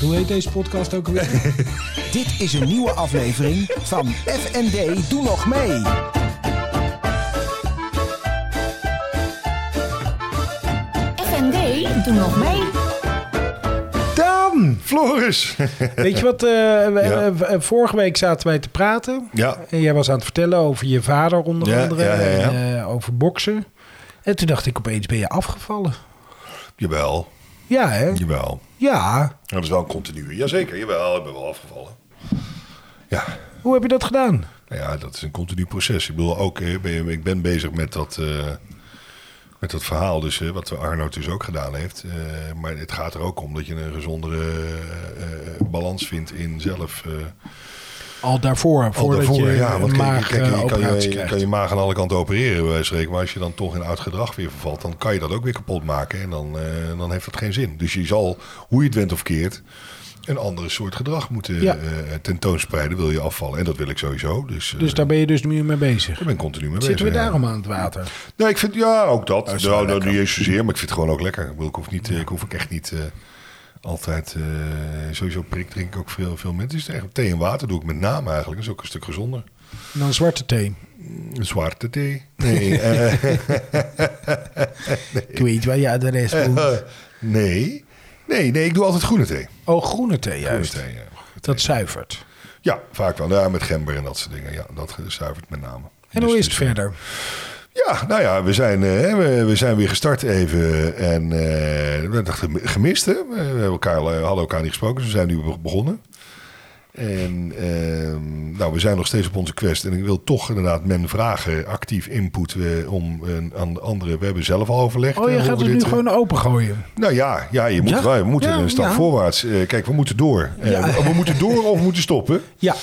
Hoe heet deze podcast ook alweer? Dit is een nieuwe aflevering van FND Doe Nog Mee. FND, doe nog mee. Daan! Floris! Weet je wat? eh, we- Ja. eh, eh, vorige week zaten wij te praten. Ja, En jij was aan het vertellen over je vader onder Ja, andere. ja, ja, ja. En, eh, over boksen. En toen dacht ik opeens ben je afgevallen. jawel. Ja, hè? Jawel. Ja. Dat is wel een continu. Jazeker, jawel. Ik ben wel afgevallen. Ja, Hoe heb je dat gedaan? nou ja, dat is een continu proces. Ik bedoel, ook, eh, ben je- ik ben bezig met dat, eh, met dat verhaal, dus, eh, wat Arno dus ook gedaan heeft. Eh, maar het gaat er ook om dat je een gezondere eh, eh, balans vindt in zelf. eh, Al daarvoor, voordat daarvoor, je ja, ja, want een kijk, maag, kijk, eh, je, kan operatie je, je krijgt. kan je maag aan alle kanten opereren, bij wijze van spreken. Maar als je dan toch in oud gedrag weer vervalt, dan kan je dat ook weer kapot maken. En dan, eh, dan heeft dat geen zin. Dus je zal, hoe je het went of keert, een andere soort gedrag moeten Ja. eh, tentoonspreiden. Wil je afvallen. En dat wil ik sowieso. Dus, eh, Dus daar ben je dus nu mee bezig. ik ben continu mee bezig. Zitten we ja. daarom Ah, aan het water? Nee, ik vind, ja, ook dat. is wel nou, dat lekker. niet eens zozeer, maar ik vind het gewoon ook lekker. Ik, bedoel, ik hoef, niet, eh, ik hoef ook echt niet eh, altijd... eh, sowieso prik drink ik ook veel, veel mensen. Dus echt, thee en water doe ik met name eigenlijk. Dat is ook een stuk gezonder. En dan zwarte thee. Zwarte thee. Nee. eh, Ik weet waar je adres moet. eh, nee. Nee, nee, ik doe altijd groene thee. Oh, groene thee Groene juist. thee, ja. Dat zuivert. ja, vaak wel. Ja, met gember en dat soort dingen. Ja, dat zuivert met name. En Dus- hoe is het dus- verder? Ja, nou ja, we zijn, eh, hè, we, we zijn weer gestart even. En eh, we dachten, gemist hè? We hebben elkaar, eh, hadden elkaar niet gesproken, dus we zijn nu be- begonnen. En ehm, nou, we zijn nog steeds op onze quest. En ik wil toch inderdaad men vragen, actief input eh, om eh, aan de anderen. We hebben zelf al overlegd. Oh, eh, je hoe gaat we het nu dit, eh, gewoon opengooien. Nou ja, ja je moet, Ja? wel, we moeten Ja, een stap ja. voorwaarts. Eh, kijk, we moeten door. Eh, Ja. we, we moeten door of we moeten stoppen. Ja.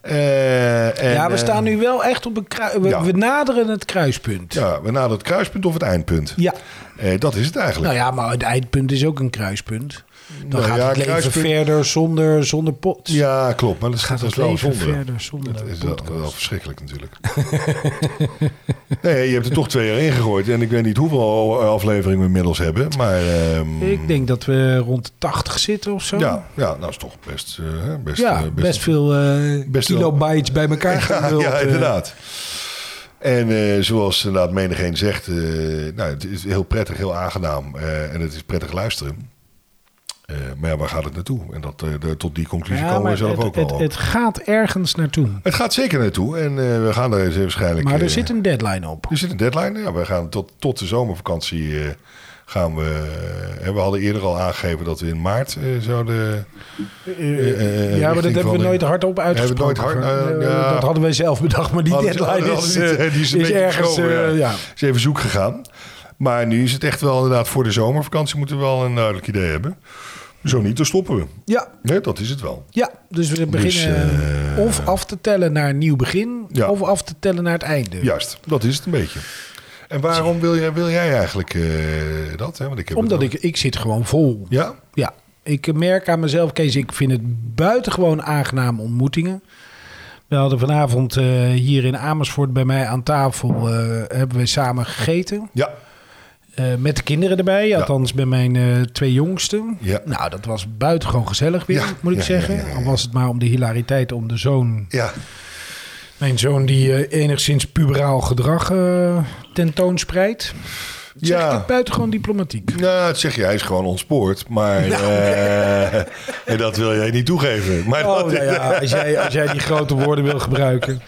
Eh, en, ja, we eh, staan nu wel echt op een krui- we, ja. we naderen het kruispunt. Ja. eh, Ja, we naderen het kruispunt of het eindpunt. Eh, dat is het eigenlijk. Nou ja, maar het eindpunt is ook een kruispunt. Dan Nou gaat ja, het leven kruispunt- verder zonder, zonder pot. Ja, klopt. Maar dat gaat het dus wel leven zonder. verder zonder dat de is wel, podcast. wel verschrikkelijk natuurlijk. nee, je hebt er toch twee jaar in gegooid. En ik weet niet hoeveel afleveringen we inmiddels hebben. Maar ehm, Ik denk dat we rond de 80 zitten of zo. ja, ja, nou is toch best, eh, best, Ja, eh, best, veel eh best wel- kilobytes bij elkaar Ja, geduld, ja, eh. inderdaad. En eh, zoals inderdaad menigeen zegt, eh, nou, het is heel prettig, heel aangenaam. eh, en het is prettig luisteren. Eh, maar ja, waar gaat het naartoe? En dat, eh, de- tot die conclusie Ja, komen maar we zelf het, ook het, wel. het gaat ergens naartoe. Het gaat zeker naartoe. En eh, we gaan er waarschijnlijk... Maar er eh, zit een deadline op. Er zit een deadline. Ja, we gaan tot, tot de zomervakantie eh, gaan we. eh, we hadden eerder al aangegeven dat we in maart eh, zouden. eh, eh, ja, maar dat richting hebben we van- nooit hardop uitgesproken. Hebben we nooit hard- hoor. eh, Eh, ja. Dat hadden wij zelf bedacht, maar die Hadden- deadline hadden- is, hadden- eh, die is een beetje ergens... geschoven, eh, ja. Is even zoek gegaan. Maar nu is het echt wel inderdaad voor de zomervakantie moeten we wel een duidelijk idee hebben. Zo niet, dan stoppen we. Ja, Nee, dat is het wel. ja, dus we beginnen eh, of af te tellen naar een nieuw begin... Ja. of af te tellen naar het einde. Juist, dat is het een beetje. En waarom wil jij, wil jij eigenlijk eh, dat? Hè? Want ik heb het Omdat ook- ik, ik zit gewoon vol. Ja? Ja, ik merk aan mezelf, Kees, ik vind het buitengewoon aangename ontmoetingen. We hadden vanavond eh, hier in Amersfoort bij mij aan tafel, eh, hebben we samen gegeten. Ja. Eh, met de kinderen erbij, althans bij mijn eh, twee jongsten. Ja. Nou, dat was buitengewoon gezellig weer, Ja, moet ik ja, zeggen. ja, ja, ja. Al was het maar om de hilariteit om de zoon. Ja. Mijn zoon die eh, enigszins puberaal gedrag eh tentoonspreidt. Dat Ja. Zeg ik het buitengewoon diplomatiek. Nou, dat zeg je, hij is gewoon ontspoord. Maar Nou. eh, en dat wil jij niet toegeven. Maar Oh, dat- nou ja, als jij, als jij die grote woorden wil gebruiken.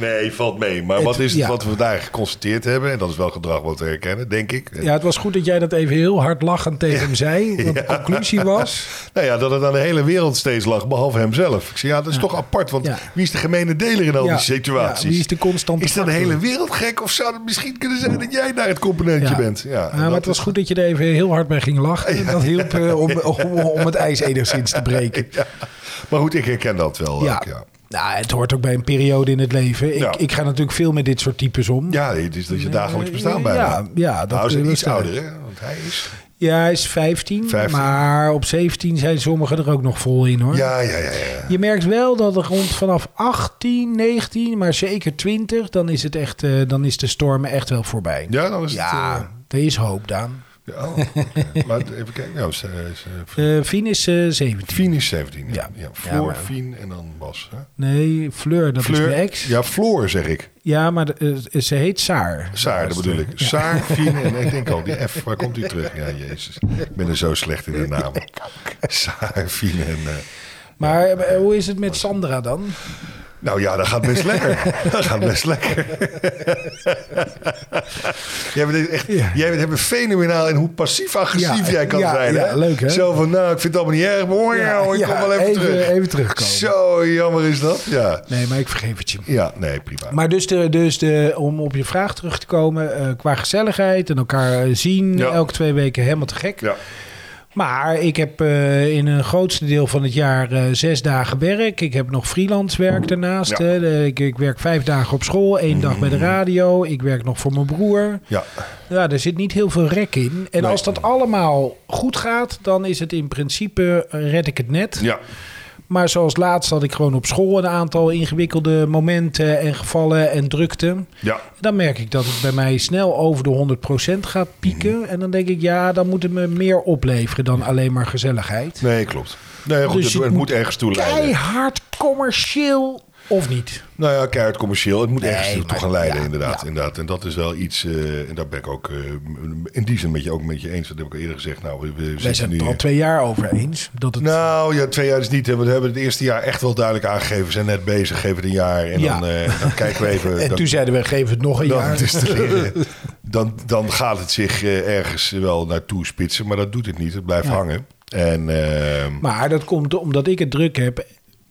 Nee, valt mee. Maar wat Het- is het ja. wat we vandaag geconstateerd hebben? En dat is wel gedrag wat we herkennen, denk ik. Ja, het was goed dat jij dat even heel hard lachend tegen hem zei. Want de conclusie was... Nou ja, dat het aan de hele wereld steeds lag, behalve hemzelf. Ik zeg, ja, dat is toch apart. Want Ja. wie is de gemene deler in al Ja, die situaties? ja, wie is de constante Is dat de factor? hele wereld gek? Of zou het misschien kunnen zijn dat jij daar het componentje bent? Ja, en maar dat het was is- goed dat je er even heel hard bij ging lachen. Dat hielp eh, om, om, om het ijs enigszins te breken. Ja. Maar goed, ik herken dat wel. Ja. ook, ja. Nou, het hoort ook bij een periode in het leven. Ik, Ja. ik ga natuurlijk veel met dit soort types om. Ja, het is dat je dagelijks bestaan Eh, bijna. ja, ja, dat nou, is kun je iets wel stellen. ouder, hè? Want hij is... Ja, hij is 15, 15. Maar op 17 zijn sommigen er ook nog vol in hoor. Ja, ja, ja. ja. Je merkt wel dat er rond vanaf 18, 19, maar zeker 20, dan is, het echt, eh, dan is de storm echt wel voorbij. Ja, dan is het, Ja, eh, er is hoop, Daan. Oh, oké. maar even kijken. Nou, is, is, eh, Eh Fien is eh 17. Fien is 17. Ja. Ja. Ja. Ja, Floor, maar- Fien en dan Bas. Hè? Nee, Fleur, dat is Fleur- mijn ex. Ja, Ja, Floor zeg ik. maar de- eh, ze heet Saar. Saar, dat bedoel ik. Saar, Fien en ik denk al, die F, waar komt u terug? Ja, jezus. Ik ben er zo slecht in de naam. Saar, Fien en... eh, Maar eh, hoe is het met Sandra dan? nou ja, dat gaat best lekker. Dat gaat best lekker. jij, bent echt, jij bent hebben fenomenaal in hoe passief-agressief Ja, jij kan ja, zijn. ja, leuk, hè? Zo van, nou, ik vind het allemaal niet erg, maar hoor, joh, ik kom wel even, terug. Even terugkomen. Zo jammer is dat, ja. Nee, maar ik vergeef het je. Ja, nee, prima. Maar dus, de, dus de, om op je vraag terug te komen, eh, qua gezelligheid en elkaar eh, zien, Ja. elke twee weken helemaal te gek. ja. Maar ik heb eh, in een grootste deel van het jaar eh, zes dagen werk. Ik heb nog freelance werk daarnaast. Ja. Mm. hè. De- ik, ik werk vijf dagen op school, één dag bij de radio. Ik werk nog voor mijn broer. ja, Ja, er zit niet heel veel rek in. En Nee. als dat allemaal goed gaat, dan is het in principe eh, red ik het net. ja, Maar zoals laatst had ik gewoon op school een aantal ingewikkelde momenten en gevallen en drukte. ja. Dan merk ik dat het bij mij snel over de 100% gaat pieken. Mhm. En dan denk ik, ja, dan moet het me meer opleveren dan alleen maar gezelligheid. Nee, klopt. Nee, goed, Dus het, het het moet moet ergens toe leiden. Keihard commercieel of niet? Nou ja, keihard commercieel. Het moet ergens Nee, toe maar- gaan leiden, ja, inderdaad, ja. inderdaad. En dat is wel iets, eh, en daar ben ik ook eh, m- in die zin met je, ook met je eens. Dat heb ik al eerder gezegd. Nou, we, we Wij zitten zijn nu... het er al twee jaar over eens. Dat het, Nou ja, twee jaar is niet. hè, want We hebben het eerste jaar echt wel duidelijk aangegeven. We zijn net bezig, geven het een jaar. En Ja. dan, eh, dan kijken we even. en dan- toen zeiden we, geef het nog een dan, jaar. het is te leren. dan, dan gaat het zich eh, ergens wel naartoe spitsen. Maar dat doet het niet. Het blijft hangen. En ehm, Maar dat komt omdat ik het druk heb,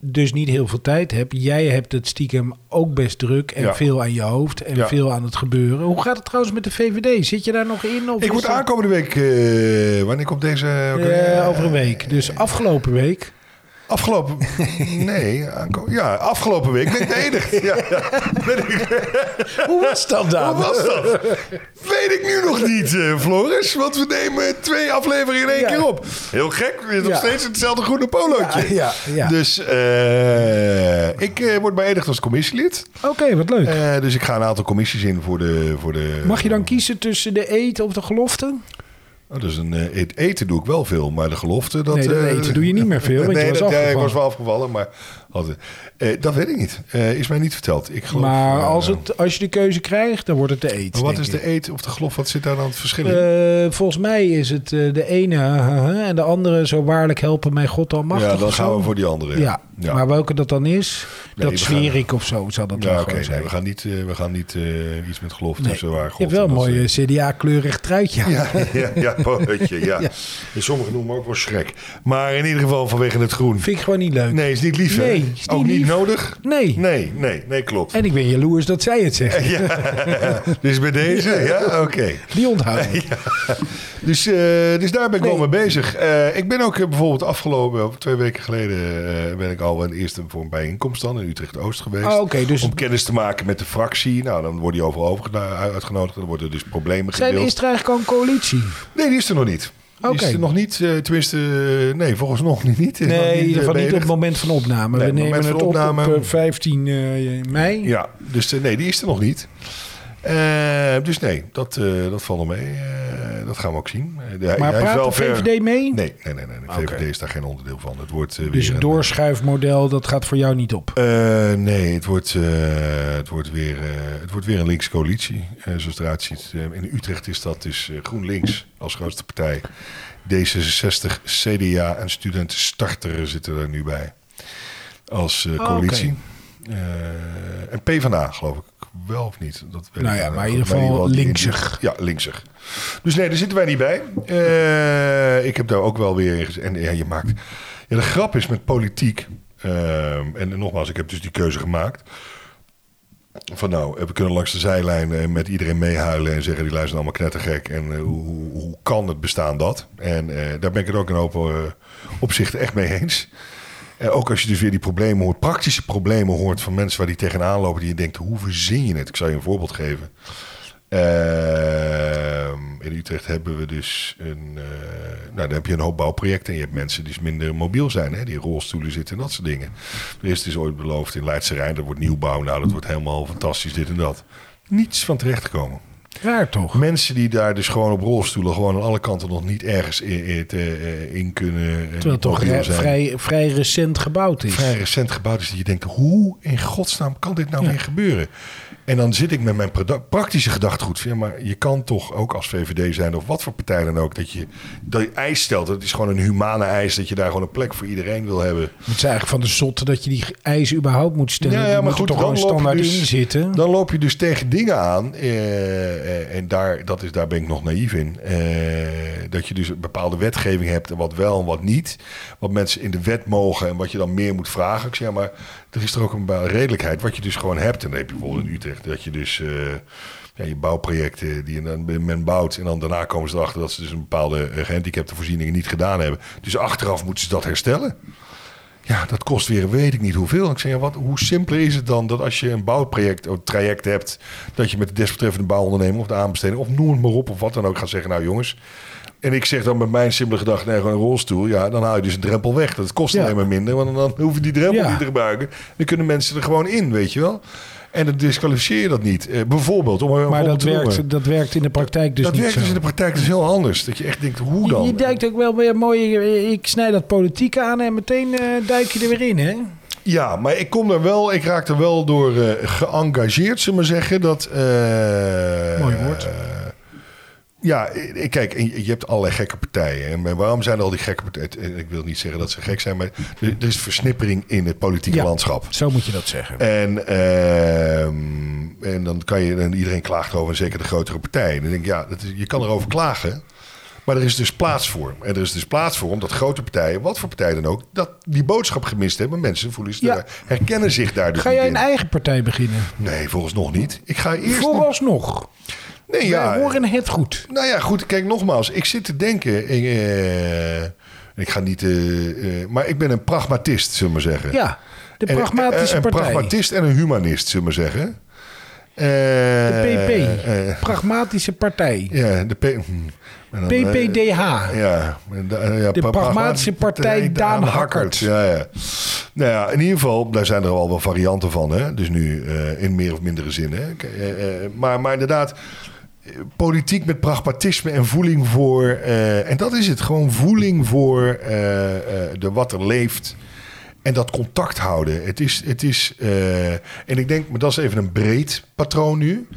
dus niet heel veel tijd heb. Jij hebt het stiekem ook best druk en Ja. veel aan je hoofd en Ja. veel aan het gebeuren. Hoe gaat het trouwens met de VVD? Zit je daar nog in? Of ik is word dat- aankomende week. eh, wanneer komt deze? ook alweer? Eh, over een week. Dus afgelopen week. Afgelopen. Nee, aanko- ja, afgelopen week ben ik de enige. Ja, ja. Ben ik, Hoe was dat wat dan? was dat? Weet ik nu nog niet, eh, Floris. Want we nemen twee afleveringen in één Ja. keer op. Heel gek, we zitten nog Ja. steeds in hetzelfde groene polootje. Ja, ja, ja. Dus eh, ik eh, word beëdigd als commissielid. Oké, wat leuk. Eh, dus ik ga een aantal commissies in voor de... Voor de Mag je dan kiezen tussen de eet of de gelofte? Oh, dus een, eh, het eten doe ik wel veel, maar de gelofte... Dat, nee, dat eh, eten doe je niet meer veel, want nee, je was dat, ja, ik afgevallen. was wel afgevallen, maar altijd. Eh, dat weet ik niet. Eh, is mij niet verteld. Ik geloof, Maar eh, als, het, als je de keuze krijgt, dan wordt het de eet. Maar wat denk is ik. de eet of de glof? Wat zit daar dan het verschil in? Eh, volgens mij is het eh, de ene eh, eh, en de andere zo waarlijk helpen mij God almachtig. ja, dan of zo. gaan we voor die andere. Ja, ja. maar welke dat dan is, Nee, we dat zweer gaan- ik of zo, zal dat Ja, wel oké. gewoon nee, zijn. we gaan niet, eh, we gaan niet eh, iets met geloof tussen waar je God hebt wel een en dat mooi CDA-kleurig truitje. aan. Ja, ja, ja, pootje, ja. En Sommigen noemen me ook wel schrek. Maar in ieder geval vanwege het groen. Vind ik gewoon niet leuk. Nee, is niet lief, hè? Nee, is niet Ook niet lief. nodig? Nee. Nee, nee, nee, klopt. En ik ben jaloers dat zij het zegt. Ja, dus bij deze, ja, oké. Die onthouden. we. Dus, eh, dus daar ben ik Nee. wel mee bezig. Eh, ik ben ook eh, bijvoorbeeld afgelopen, of twee weken geleden, eh, ben ik al een eerste voor een bijeenkomst dan in Utrecht-Oost geweest. Ah, oké, dus- Om kennis te maken met de fractie. Nou, dan worden die overal overgeda- uitgenodigd. Dan worden dus problemen Zijn, gedeeld. is er eigenlijk al een coalitie? Nee, die is er nog niet. Die Oké. is er nog niet, eh, tenminste, eh, nee, volgens nog niet. eh, Is nog Nee, in ieder geval niet op beëdigd. het moment van opname. Nee, we op het nemen moment het van op op opname. eh, 15 eh, mei. Ja, dus eh, nee, die is er nog niet. Eh, dus nee, dat, eh, dat valt nog mee. Eh, dat gaan we ook zien. Eh, hij- maar hij is praat wel de ver- VVD mee? Nee, nee, nee, nee. De VVD is daar geen onderdeel van. Het wordt eh, Dus weer een een- doorschuifmodel, dat gaat voor jou niet op. Eh, nee, het wordt, eh, het, wordt weer, eh, het wordt weer een linkse coalitie. eh, zoals het eruit ziet. Eh, in Utrecht is dat dus eh, GroenLinks als grootste partij. D66, CDA en studenten starteren zitten er nu bij. Als eh, Oh, coalitie. Eh, en PvdA geloof ik wel of niet. Dat weet Nou ik ja, niet. maar in ieder geval die- die- linksig. Ja, linksig. Dus nee, daar zitten wij niet bij. Eh, ik heb daar ook wel weer in gez- En ja, je maakt... Ja, de grap is met politiek... ehm, en nogmaals, ik heb dus die keuze gemaakt. Van nou, eh, we kunnen langs de zijlijn eh, met iedereen meehuilen... en zeggen die luisteren allemaal knettergek. En eh, hoe, hoe, hoe kan het bestaan dat? En eh, daar ben ik het ook in een hoop eh, opzichten echt mee eens. Eh, ook als je dus weer die problemen hoort, praktische problemen hoort van mensen waar die tegenaan lopen, die je denkt, hoe verzin je het? Ik zal je een voorbeeld geven. Ehm, in Utrecht hebben we dus een. eh, nou, dan heb je een hoop bouwprojecten. En je hebt mensen die dus minder mobiel zijn. Hè, die in rolstoelen zitten en dat soort dingen. Er is dus ooit beloofd in Leidse Rijn. Dat wordt nieuwbouw. Nou, dat wordt helemaal fantastisch, dit en dat. Niets van terechtgekomen. Raar toch? Mensen die daar dus gewoon op rolstoelen, gewoon aan alle kanten nog niet ergens in, in, eh, in kunnen. eh, Terwijl het toch mobiel re- zijn. vrij, vrij recent gebouwd is. vrij recent gebouwd is. Dat je denkt, hoe in godsnaam kan dit nou weer gebeuren? En dan zit ik met mijn proda- praktische gedachtegoed. van, Ja, maar je kan toch ook als VVD zijn of wat voor partij dan ook... dat je, dat je eis stelt. Dat is gewoon een humane eis. Dat je daar gewoon een plek voor iedereen wil hebben. Het is eigenlijk van de zotte dat je die eisen überhaupt moet stellen. Ja, ja, Die maar moeten goed, toch dan gewoon loop je standaard dus- in zitten. Dan loop je dus tegen dingen aan. eh, eh, en daar, dat is, daar ben ik nog naïef in. eh, dat je dus een bepaalde wetgeving hebt. En wat wel en wat niet. Wat mensen in de wet mogen. En wat je dan meer moet vragen. Ik zeg maar, er is er ook een bepaalde redelijkheid. Wat je dus gewoon hebt. En dan heb je bijvoorbeeld in Utrecht. Dat je dus... eh, ja, je bouwprojecten die je dan- men bouwt. En dan daarna komen ze erachter dat ze dus een bepaalde eh, gehandicapte voorzieningen niet gedaan hebben. Dus achteraf moeten ze dat herstellen. Ja, dat kost weer weet ik niet hoeveel. Ik zeg, ja, wat, hoe simpeler is het dan dat als je een bouwproject of traject hebt, dat je met de desbetreffende bouwondernemer of de aanbesteding of noem het maar op of wat dan ook gaat zeggen, nou jongens. En ik zeg dan met mijn simpele gedachte, nee, gewoon een rolstoel. Ja, dan haal je dus een drempel weg. Dat kost Ja. alleen maar minder, want dan hoef je die drempel Ja. niet te gebruiken. Dan kunnen mensen er gewoon in, weet je wel. En dan disqualificeer je dat niet. Eh, bijvoorbeeld, om een Maar voorbeeld dat te noemen. werkt, dat werkt in de praktijk dus dat niet werkt zo. dus in de praktijk dus heel anders. Dat je echt denkt, hoe dan? Je, je duikt ook wel weer mooi. Ik snij dat politieke aan en meteen eh, duik je er weer in, hè? Eh, Ja, maar ik kom er wel, ik raak er wel door eh geëngageerd, zullen we maar zeggen. Dat, eh, Mooi woord. eh, ja, eh, kijk, je je hebt allerlei gekke partijen. En maar waarom zijn er al die gekke partijen? Eh, Ik wil niet zeggen dat ze gek zijn, maar er, er is versnippering in het politieke Ja. landschap. Zo moet je dat zeggen. En, ehm, en dan kan je, en iedereen klaagt erover, en zeker de grotere partijen. Dan denk ik, ja, dat is, je kan erover klagen. Maar er is dus plaats voor. En er is dus plaats voor omdat grote partijen, wat voor partij dan ook, dat die boodschap gemist hebben. Mensen voelen zich Ja. daar- herkennen zich daar dus Ga niet jij in. een eigen partij beginnen? Nee, volgens nog niet. Ik ga eerst. Vooralsnog. nee, ja. Wij horen het goed. Nou ja, goed, kijk nogmaals. Ik zit te denken. Ik, eh, ik ga niet. eh, eh, maar ik ben een pragmatist, zullen we maar zeggen. Ja, de En- pragmatische en- en- partij. Een pragmatist en een humanist, zullen we maar zeggen. de PP. de pragmatische partij. Eh, ja, de P... hm. En dan, eh, PPDH. Ja, en da- eh, ja, De pra- Pragmatische Partij Daan Hakkert. Ja, ja. Nou ja, in ieder geval, daar zijn er al wel varianten van. Hè? Dus nu eh, in meer of mindere zin. Hè? K- eh, eh, maar, maar inderdaad, eh, politiek met pragmatisme en voeling voor... eh, en dat is het, gewoon voeling voor eh, eh, de wat er leeft... En dat contact houden. Het is. Het is eh, en ik denk, maar dat is even een breed patroon nu.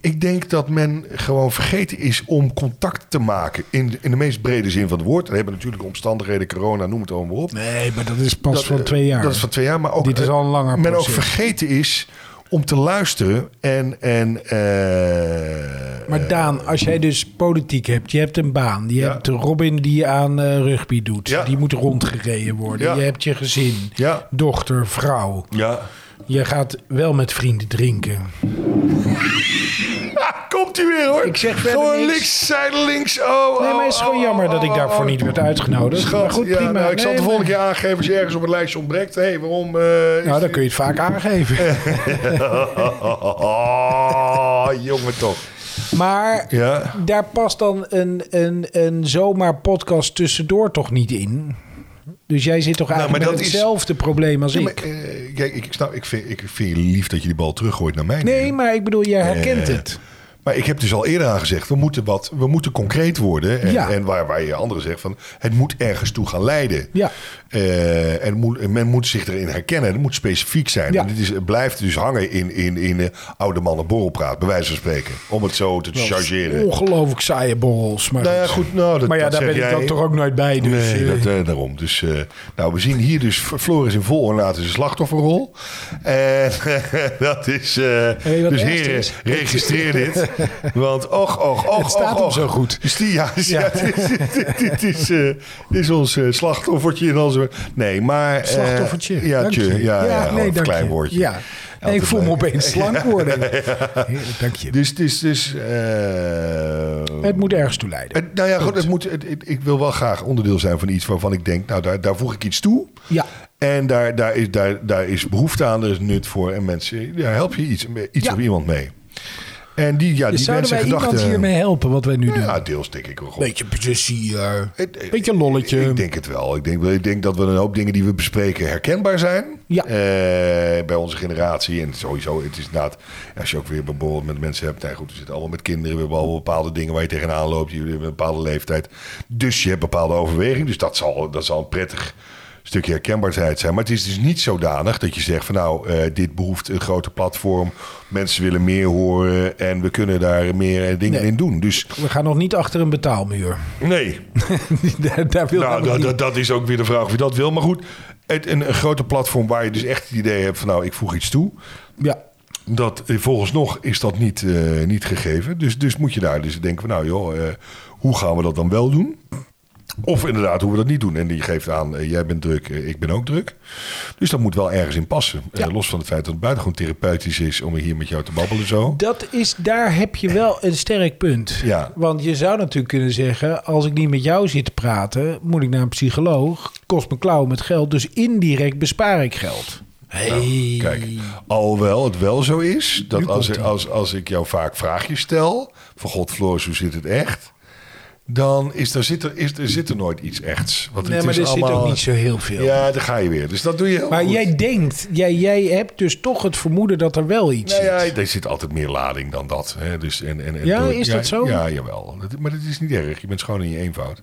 Ik denk dat men gewoon vergeten is om contact te maken. In, in de meest brede zin van het woord. Er hebben natuurlijk omstandigheden, corona, noem het allemaal maar op. Nee, maar dat is pas Dat, van eh, twee jaar. Dat is van twee jaar. Maar ook, Dit is eh, al een langer Men ook proces. vergeten is om te luisteren. En. en eh, Maar Daan, als jij dus politiek hebt, je hebt een baan, je Ja. hebt Robin die aan eh, rugby doet, Ja. die moet rondgereden worden, Ja. je hebt je gezin, Ja. dochter, vrouw, Ja. je gaat wel met vrienden drinken. Ah, Komt u weer hoor. Ik zeg verder gewoon niks. links, zijde links. Oh, Nee, maar het is oh, gewoon oh, jammer oh, dat ik oh, daarvoor oh. niet werd uitgenodigd. Schat, maar goed, ja, prima. nou, ik zal Nee, de volgende maar- keer aangeven als je ergens op het lijstje ontbreekt. Hé, hey, waarom? eh, Nou, is dan die- kun je het vaak aangeven. Oh, jongen toch. Maar Ja. daar past dan een, een, een zomaar podcast tussendoor toch niet in? Dus jij zit toch eigenlijk Nou, met maar dat is- hetzelfde probleem als Ja, maar, ik? eh, kijk, ik, snap, ik, vind, ik vind je lief dat je die bal teruggooit naar mij. Nee, nu. maar ik bedoel, jij herkent Eh, het. Maar ik heb dus al eerder aangezegd, we moeten, wat, we moeten concreet worden. En, Ja. en waar, waar je anderen zegt, van, het moet ergens toe gaan leiden. Ja. Eh, en moet, en men moet zich erin herkennen. Het moet specifiek zijn. Ja. En dit is, het blijft dus hangen in, in, in eh, oude mannen borrelpraat, bij wijze van spreken. Om het zo te eh, chargeren. Ongelooflijk saaie borrels. Maar Nou ja, goed, nou, dat- maar ja, dat daar zeg ben ik jij. dan toch ook nooit bij. Dus, nee, eh, dat, eh, daarom. Dus, eh, nou, we zien hier dus F- Floris in vol ornaat is een slachtofferrol. En dat is... eh, je wat dus echt heren, is? registreer dit. Want och, och, och, Het staat och, hem och. zo goed. Dus die, ja, ja. Ja. dit, dit- dit is, eh, dit is ons eh, slachtoffertje in onze... Nee, maar... eh, slachtoffertje. ja, Dank tje, je. ja, ja, gewoon een dank klein je. woordje. Ja. Nee, ik Altijd voel me leuk. opeens slank worden. Heerlijk, dank je. Dus, dus, dus... eh, Het moet ergens toe leiden. het- nou ja, goed, het moet, het- het- ik wil wel graag onderdeel zijn van iets waarvan ik denk, nou, daar, daar voeg ik iets toe. Ja. En daar, daar, is, daar, daar is behoefte aan, er is nut voor. En mensen, daar help je iets, iets Ja. of iemand mee. En die, ja, Dus die zouden mensen wij gedachten... iemand hiermee helpen wat wij nu doen? Ja, deels denk ik wel. Goed. Beetje plezier. Het- het- Beetje lolletje. Ik, denk het wel. Ik denk, ik denk dat we een hoop dingen die we bespreken herkenbaar zijn. Ja. Eh, bij onze generatie. En sowieso, het is inderdaad... Als je ook weer bijvoorbeeld met mensen hebt... Nou goed, we zitten allemaal met kinderen. We hebben allemaal bepaalde dingen waar je tegenaan loopt. Je hebt een bepaalde leeftijd. Dus je hebt bepaalde overweging. Dus dat zal, dat zal een prettig stukje herkenbaarheid zijn. Maar het is dus niet zodanig dat je zegt van nou, eh, dit behoeft een grote platform. Mensen willen meer horen en we kunnen daar meer eh, dingen Nee. in doen. Dus We gaan nog niet achter een betaalmuur. nee, daar, daar wil nou, namelijk dat, niet- dat, dat is ook weer de vraag of je dat wil. Maar goed, het, een, een grote platform waar je dus echt het idee hebt van nou, ik voeg iets toe. Ja. Dat, eh, volgens nog is dat niet, eh, niet gegeven. Dus, dus moet je daar dus denken van nou joh, eh, hoe gaan we dat dan wel doen? Of inderdaad, hoe we dat niet doen. En die geeft aan, eh, jij bent druk, eh, ik ben ook druk. Dus dat moet wel ergens in passen. Eh, los van het feit dat het buitengewoon therapeutisch is om hier met jou te babbelen zo. Dat is, daar heb je wel een sterk punt. Ja. Want je zou natuurlijk kunnen zeggen, als ik niet met jou zit te praten, moet ik naar een psycholoog, kost me klauw met geld, dus indirect bespaar ik geld. Hey. Nou, Kijk, alhoewel het wel zo is dat Nu als, komt er- als, als ik jou vaak vraagjes stel: van God, Floris, hoe zit het echt? Dan is er, zit, er, is, er, zit er nooit iets echts. Want nee, het maar is er zit allemaal- ook niet zo heel veel. Ja, daar ga je weer. Dus dat doe je heel maar goed. jij denkt, jij, jij hebt dus toch het vermoeden dat er wel iets Nou ja, zit. er zit altijd meer lading dan dat. Hè? Dus en, en, en Ja, is dat zo? Ja, jawel. Dat- Maar dat is niet erg. Je bent schoon in je eenvoud.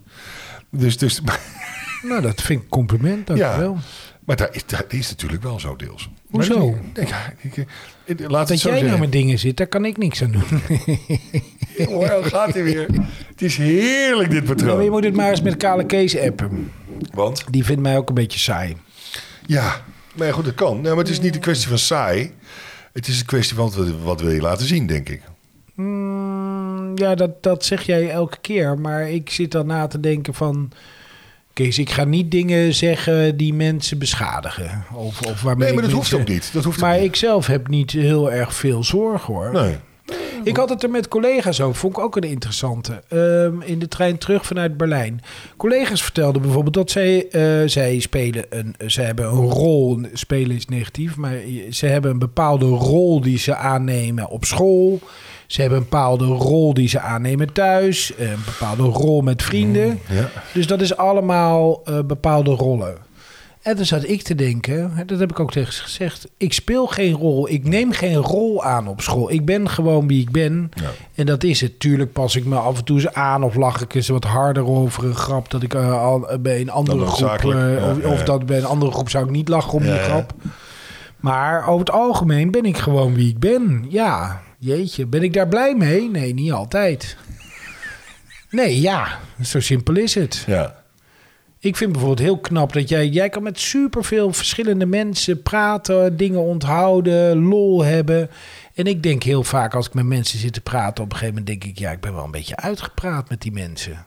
Dus, dus, Nou, dat vind ik een compliment, ja. dankjewel. Maar dat is, dat is natuurlijk wel zo deels. Hoezo? Maar dat- Ja, ik, ik- ik- laat het Dat zo jij zeggen. nou met dingen zit, daar kan ik niks aan doen. Hoor, dan gaat hij weer. Het is heerlijk, dit Ja, maar je patroon. moet het maar eens met Kale Kees appen. Want? Die vindt mij ook een beetje saai. Ja, maar ja, goed, dat kan. Nee, maar het is niet een kwestie van saai. Het is een kwestie van wat, wat wil je laten zien, denk ik. Mm, ja, dat, dat zeg jij elke keer. Maar ik zit dan na te denken van... Kees, ik ga niet dingen zeggen die mensen beschadigen. Of, of waarmee Nee, maar ik dat hoeft mensen- ook niet. Dat hoeft Maar ook niet. ik zelf heb niet heel erg veel zorg, hoor. Nee. Ik had het er met collega's over, vond ik ook een interessante. Ehm, in de trein terug vanuit Berlijn. Collega's vertelden bijvoorbeeld dat zij, eh, zij spelen een, ze hebben een rol, spelen is negatief, maar ze hebben een bepaalde rol die ze aannemen op school. Ze hebben een bepaalde rol die ze aannemen thuis, een bepaalde rol met vrienden. Ja. Dus dat is allemaal eh, bepaalde rollen. En toen zat ik te denken, hè, dat heb ik ook tegen ze gezegd, ik speel geen rol, ik neem geen rol aan op school. Ik ben gewoon wie ik ben Ja. en dat is het. Tuurlijk pas ik me af en toe eens aan of lach ik eens wat harder over een grap dat ik eh, al, eh, bij een andere groep, noodzakelijk. eh, Ja, of, ja, of ja. dat bij een andere groep zou ik niet lachen om Ja, die ja. grap. Maar over het algemeen ben ik gewoon wie ik ben. Ja, jeetje. Ben ik daar blij mee? Nee, niet altijd. Nee, ja. Zo simpel is het. ja. Ik vind bijvoorbeeld heel knap dat jij... Jij kan met superveel verschillende mensen praten, dingen onthouden, lol hebben. En ik denk heel vaak als ik met mensen zit te praten... op een gegeven moment denk ik... ja, ik ben wel een beetje uitgepraat met die mensen.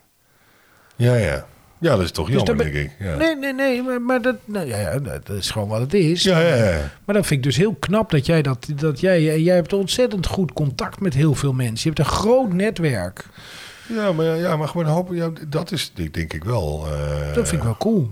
Ja, ja. Ja, dat is toch jammer, dat denk Dus ben- ik. Ja. Nee, nee, nee. Maar, maar dat, nou, ja, ja, dat is gewoon wat het is. Ja, ja, ja. Maar dat vind ik dus heel knap dat jij dat, dat jij, en jij hebt ontzettend goed contact met heel veel mensen. Je hebt een groot netwerk. Ja, maar, ja, maar gewoon hopen. Ja, dat is denk denk ik wel. eh, Dat vind ik wel cool.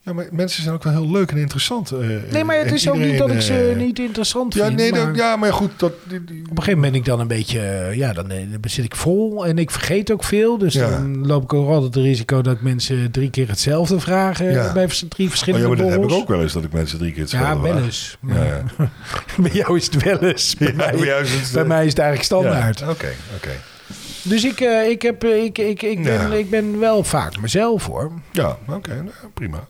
Ja, maar mensen zijn ook wel heel leuk en interessant. eh, Nee, maar het en is ook niet dat ik ze iedereen, eh, niet interessant Ja, vind. nee, maar dat- ja, maar goed. Dat, die- Oh, die- Op een gegeven moment ben ik dan een beetje, eh, ja, dan, eh, dan zit ik vol en ik vergeet ook veel. Dus Ja. dan loop ik ook altijd het risico dat ik mensen drie keer hetzelfde vragen Ja. bij vers- drie oh, verschillende ja, maar dat heb ik borrels. ook wel eens, dat ik mensen drie keer Ja, hetzelfde wel vraag. eens. Ja, ja. Bij jou is het wel eens. Bij, Ja, mij, bij jou is het, eh, bij mij is het eigenlijk standaard. Ja, Oké, oké. Dus ik, eh, ik, heb, eh, ik, ik, ik, ben, Ja. ik ben wel vaak mezelf hoor. Ja, oké, nou, prima.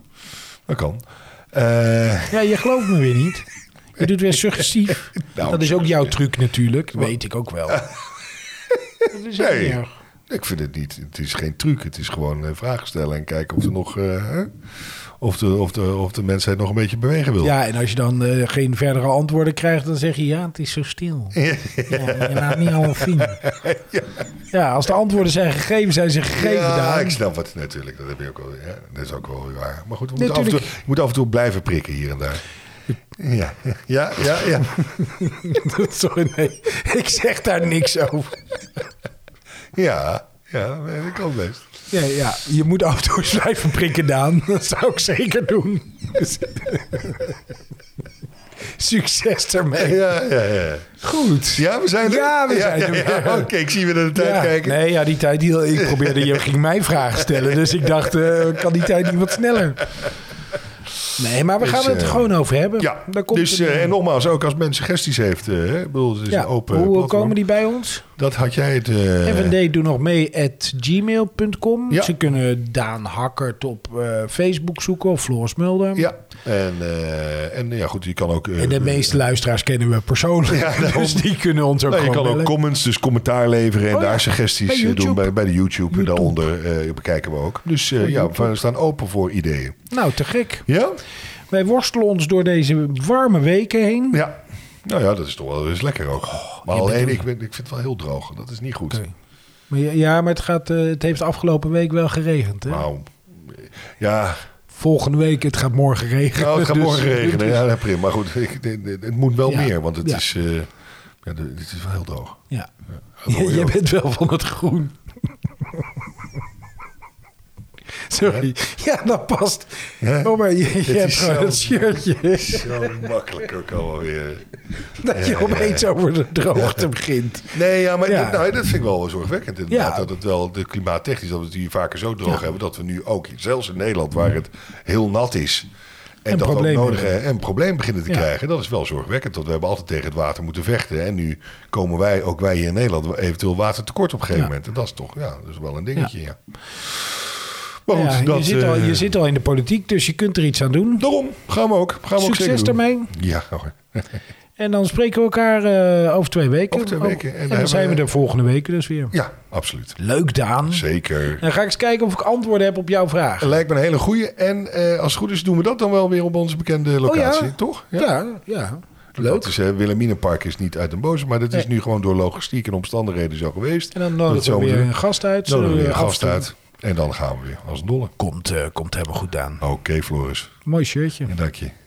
Dat kan. Eh, Ja, je gelooft me weer niet. Je doet weer suggestief. Nou, dat is ook jouw truc natuurlijk. weet ik ook wel. Dat is ook Nee. niet erg. ik vind het niet. Het is geen truc. Het is gewoon eh, vragen stellen en kijken of er nog. eh, hè, of, de, of, de, of de mensheid nog een beetje bewegen wil. Ja, en als je dan eh, geen verdere antwoorden krijgt, dan zeg je ja, het is zo stil. Ja, je laat niet allemaal vrienden. Ja, als de antwoorden zijn gegeven, zijn ze gegeven. Ja, Daan. ik snap het natuurlijk. Dat, heb je ook wel, ja, dat is ook wel weer waar. Maar goed, we Nee, moeten af en toe, tuurlijk. je moet af en toe blijven prikken hier en daar. Ja, ja, ja. ja. Sorry, nee. Ik zeg daar niks over. Ja, ja, nee, dat kan best. Ja, ja, je moet af en toe eens blijven prikken, Daan. Dat zou ik zeker doen. Succes ermee. Ja, ja, ja. Goed. Ja, we zijn er. Ja, we zijn er ja. weer. Oké, ik zie weer naar de tijd Ja, kijken. Nee, ja, die tijd die, ik probeerde, je ging mij vragen stellen. Dus ik dacht, eh, kan die tijd niet wat sneller? Nee, maar we Dus, gaan het er eh, gewoon over hebben. Ja, Daar komt dus, het in. eh, en nogmaals, ook als men suggesties heeft, eh, hè, ik bedoel, het is ja, een open hoe platform. komen die bij ons? Dat had jij het... eh, FND doe nog mee at gmail.com. Ja. Ze kunnen Daan Hakkert op eh, Facebook zoeken of Floris Mulder. Ja, en, eh, en ja, goed, je kan ook... eh, En de meeste luisteraars kennen we persoonlijk. dus die kunnen ons ook Nou, je gewoon kan ook bellen. comments, dus commentaar leveren en Oh ja, daar suggesties bij eh, YouTube. doen bij, bij de YouTube. YouTube. Daaronder eh, bekijken we ook. Dus eh, ja, we staan open voor ideeën. Nou, te gek. Ja? Wij worstelen ons door deze warme weken heen. Ja. Nou ja, dat is toch wel eens lekker ook. maar Oh, je bent alleen, een- ik, ben, ik vind het wel heel droog. Dat is niet goed. Oké. Maar ja, ja, maar het, gaat, eh, het heeft de afgelopen week wel geregend. Hè? Nou, ja, Volgende week, het gaat morgen regenen. nou, het gaat dus- morgen regenen. Ja, dat prima. Maar goed, ik, dit- dit- het moet wel Ja. meer, want het Ja. is... eh, ja, dit dit is wel heel droog. Ja. dat hoor je Jij ook. bent wel van het groen. Sorry. Ja, dat past. Hè? Oh, maar je, je is hebt gewoon zo- dat shirtje. Zo makkelijk ook alweer. Dat je opeens over de droogte begint. Nee, ja, maar Ja. Nou, dat vind ik wel zorgwekkend inderdaad. Ja. Dat het wel de klimaattechnisch, dat we het hier vaker zo droog hebben... dat we nu ook, zelfs in Nederland, waar het heel nat is... en, En dat ook problemen nodig hebben. hebben, en problemen beginnen te Ja. krijgen... dat is wel zorgwekkend, want we hebben altijd tegen het water moeten vechten. En nu komen wij, ook wij hier in Nederland, eventueel watertekort op een gegeven Ja. moment. En dat is toch ja, dat is wel een dingetje, ja. Maar goed, Ja, je, dat... zit al, eh, je zit al in de politiek, dus je kunt er iets aan doen. Daarom, gaan we ook. Gaan we ook Succes zeker doen. ermee. Ja, hoor. En dan spreken we elkaar eh, over twee weken. Over twee weken. En En, dan dan zijn we hebben er volgende week dus weer. ja, absoluut. Leuk, Daan. Zeker. Eh, Dan ga ik eens kijken of ik antwoorden heb op jouw vraag. Lijkt me een hele goeie. En eh, als het goed is doen we dat dan wel weer op onze bekende locatie, Oh ja? toch? Ja, ja. Dat is, eh, Wilhelminapark is niet uit den boze, maar dat is Nee. nu gewoon door logistiek en omstandigheden zo geweest. En dan Dat nodigen zo we weer doen. een gast eh, uit. Nodigen we zodat weer een af en gast toe- uit. En dan gaan we weer als dolle. Komt, eh, komt helemaal goed aan. Oké, Floris. Mooi shirtje. En dank je.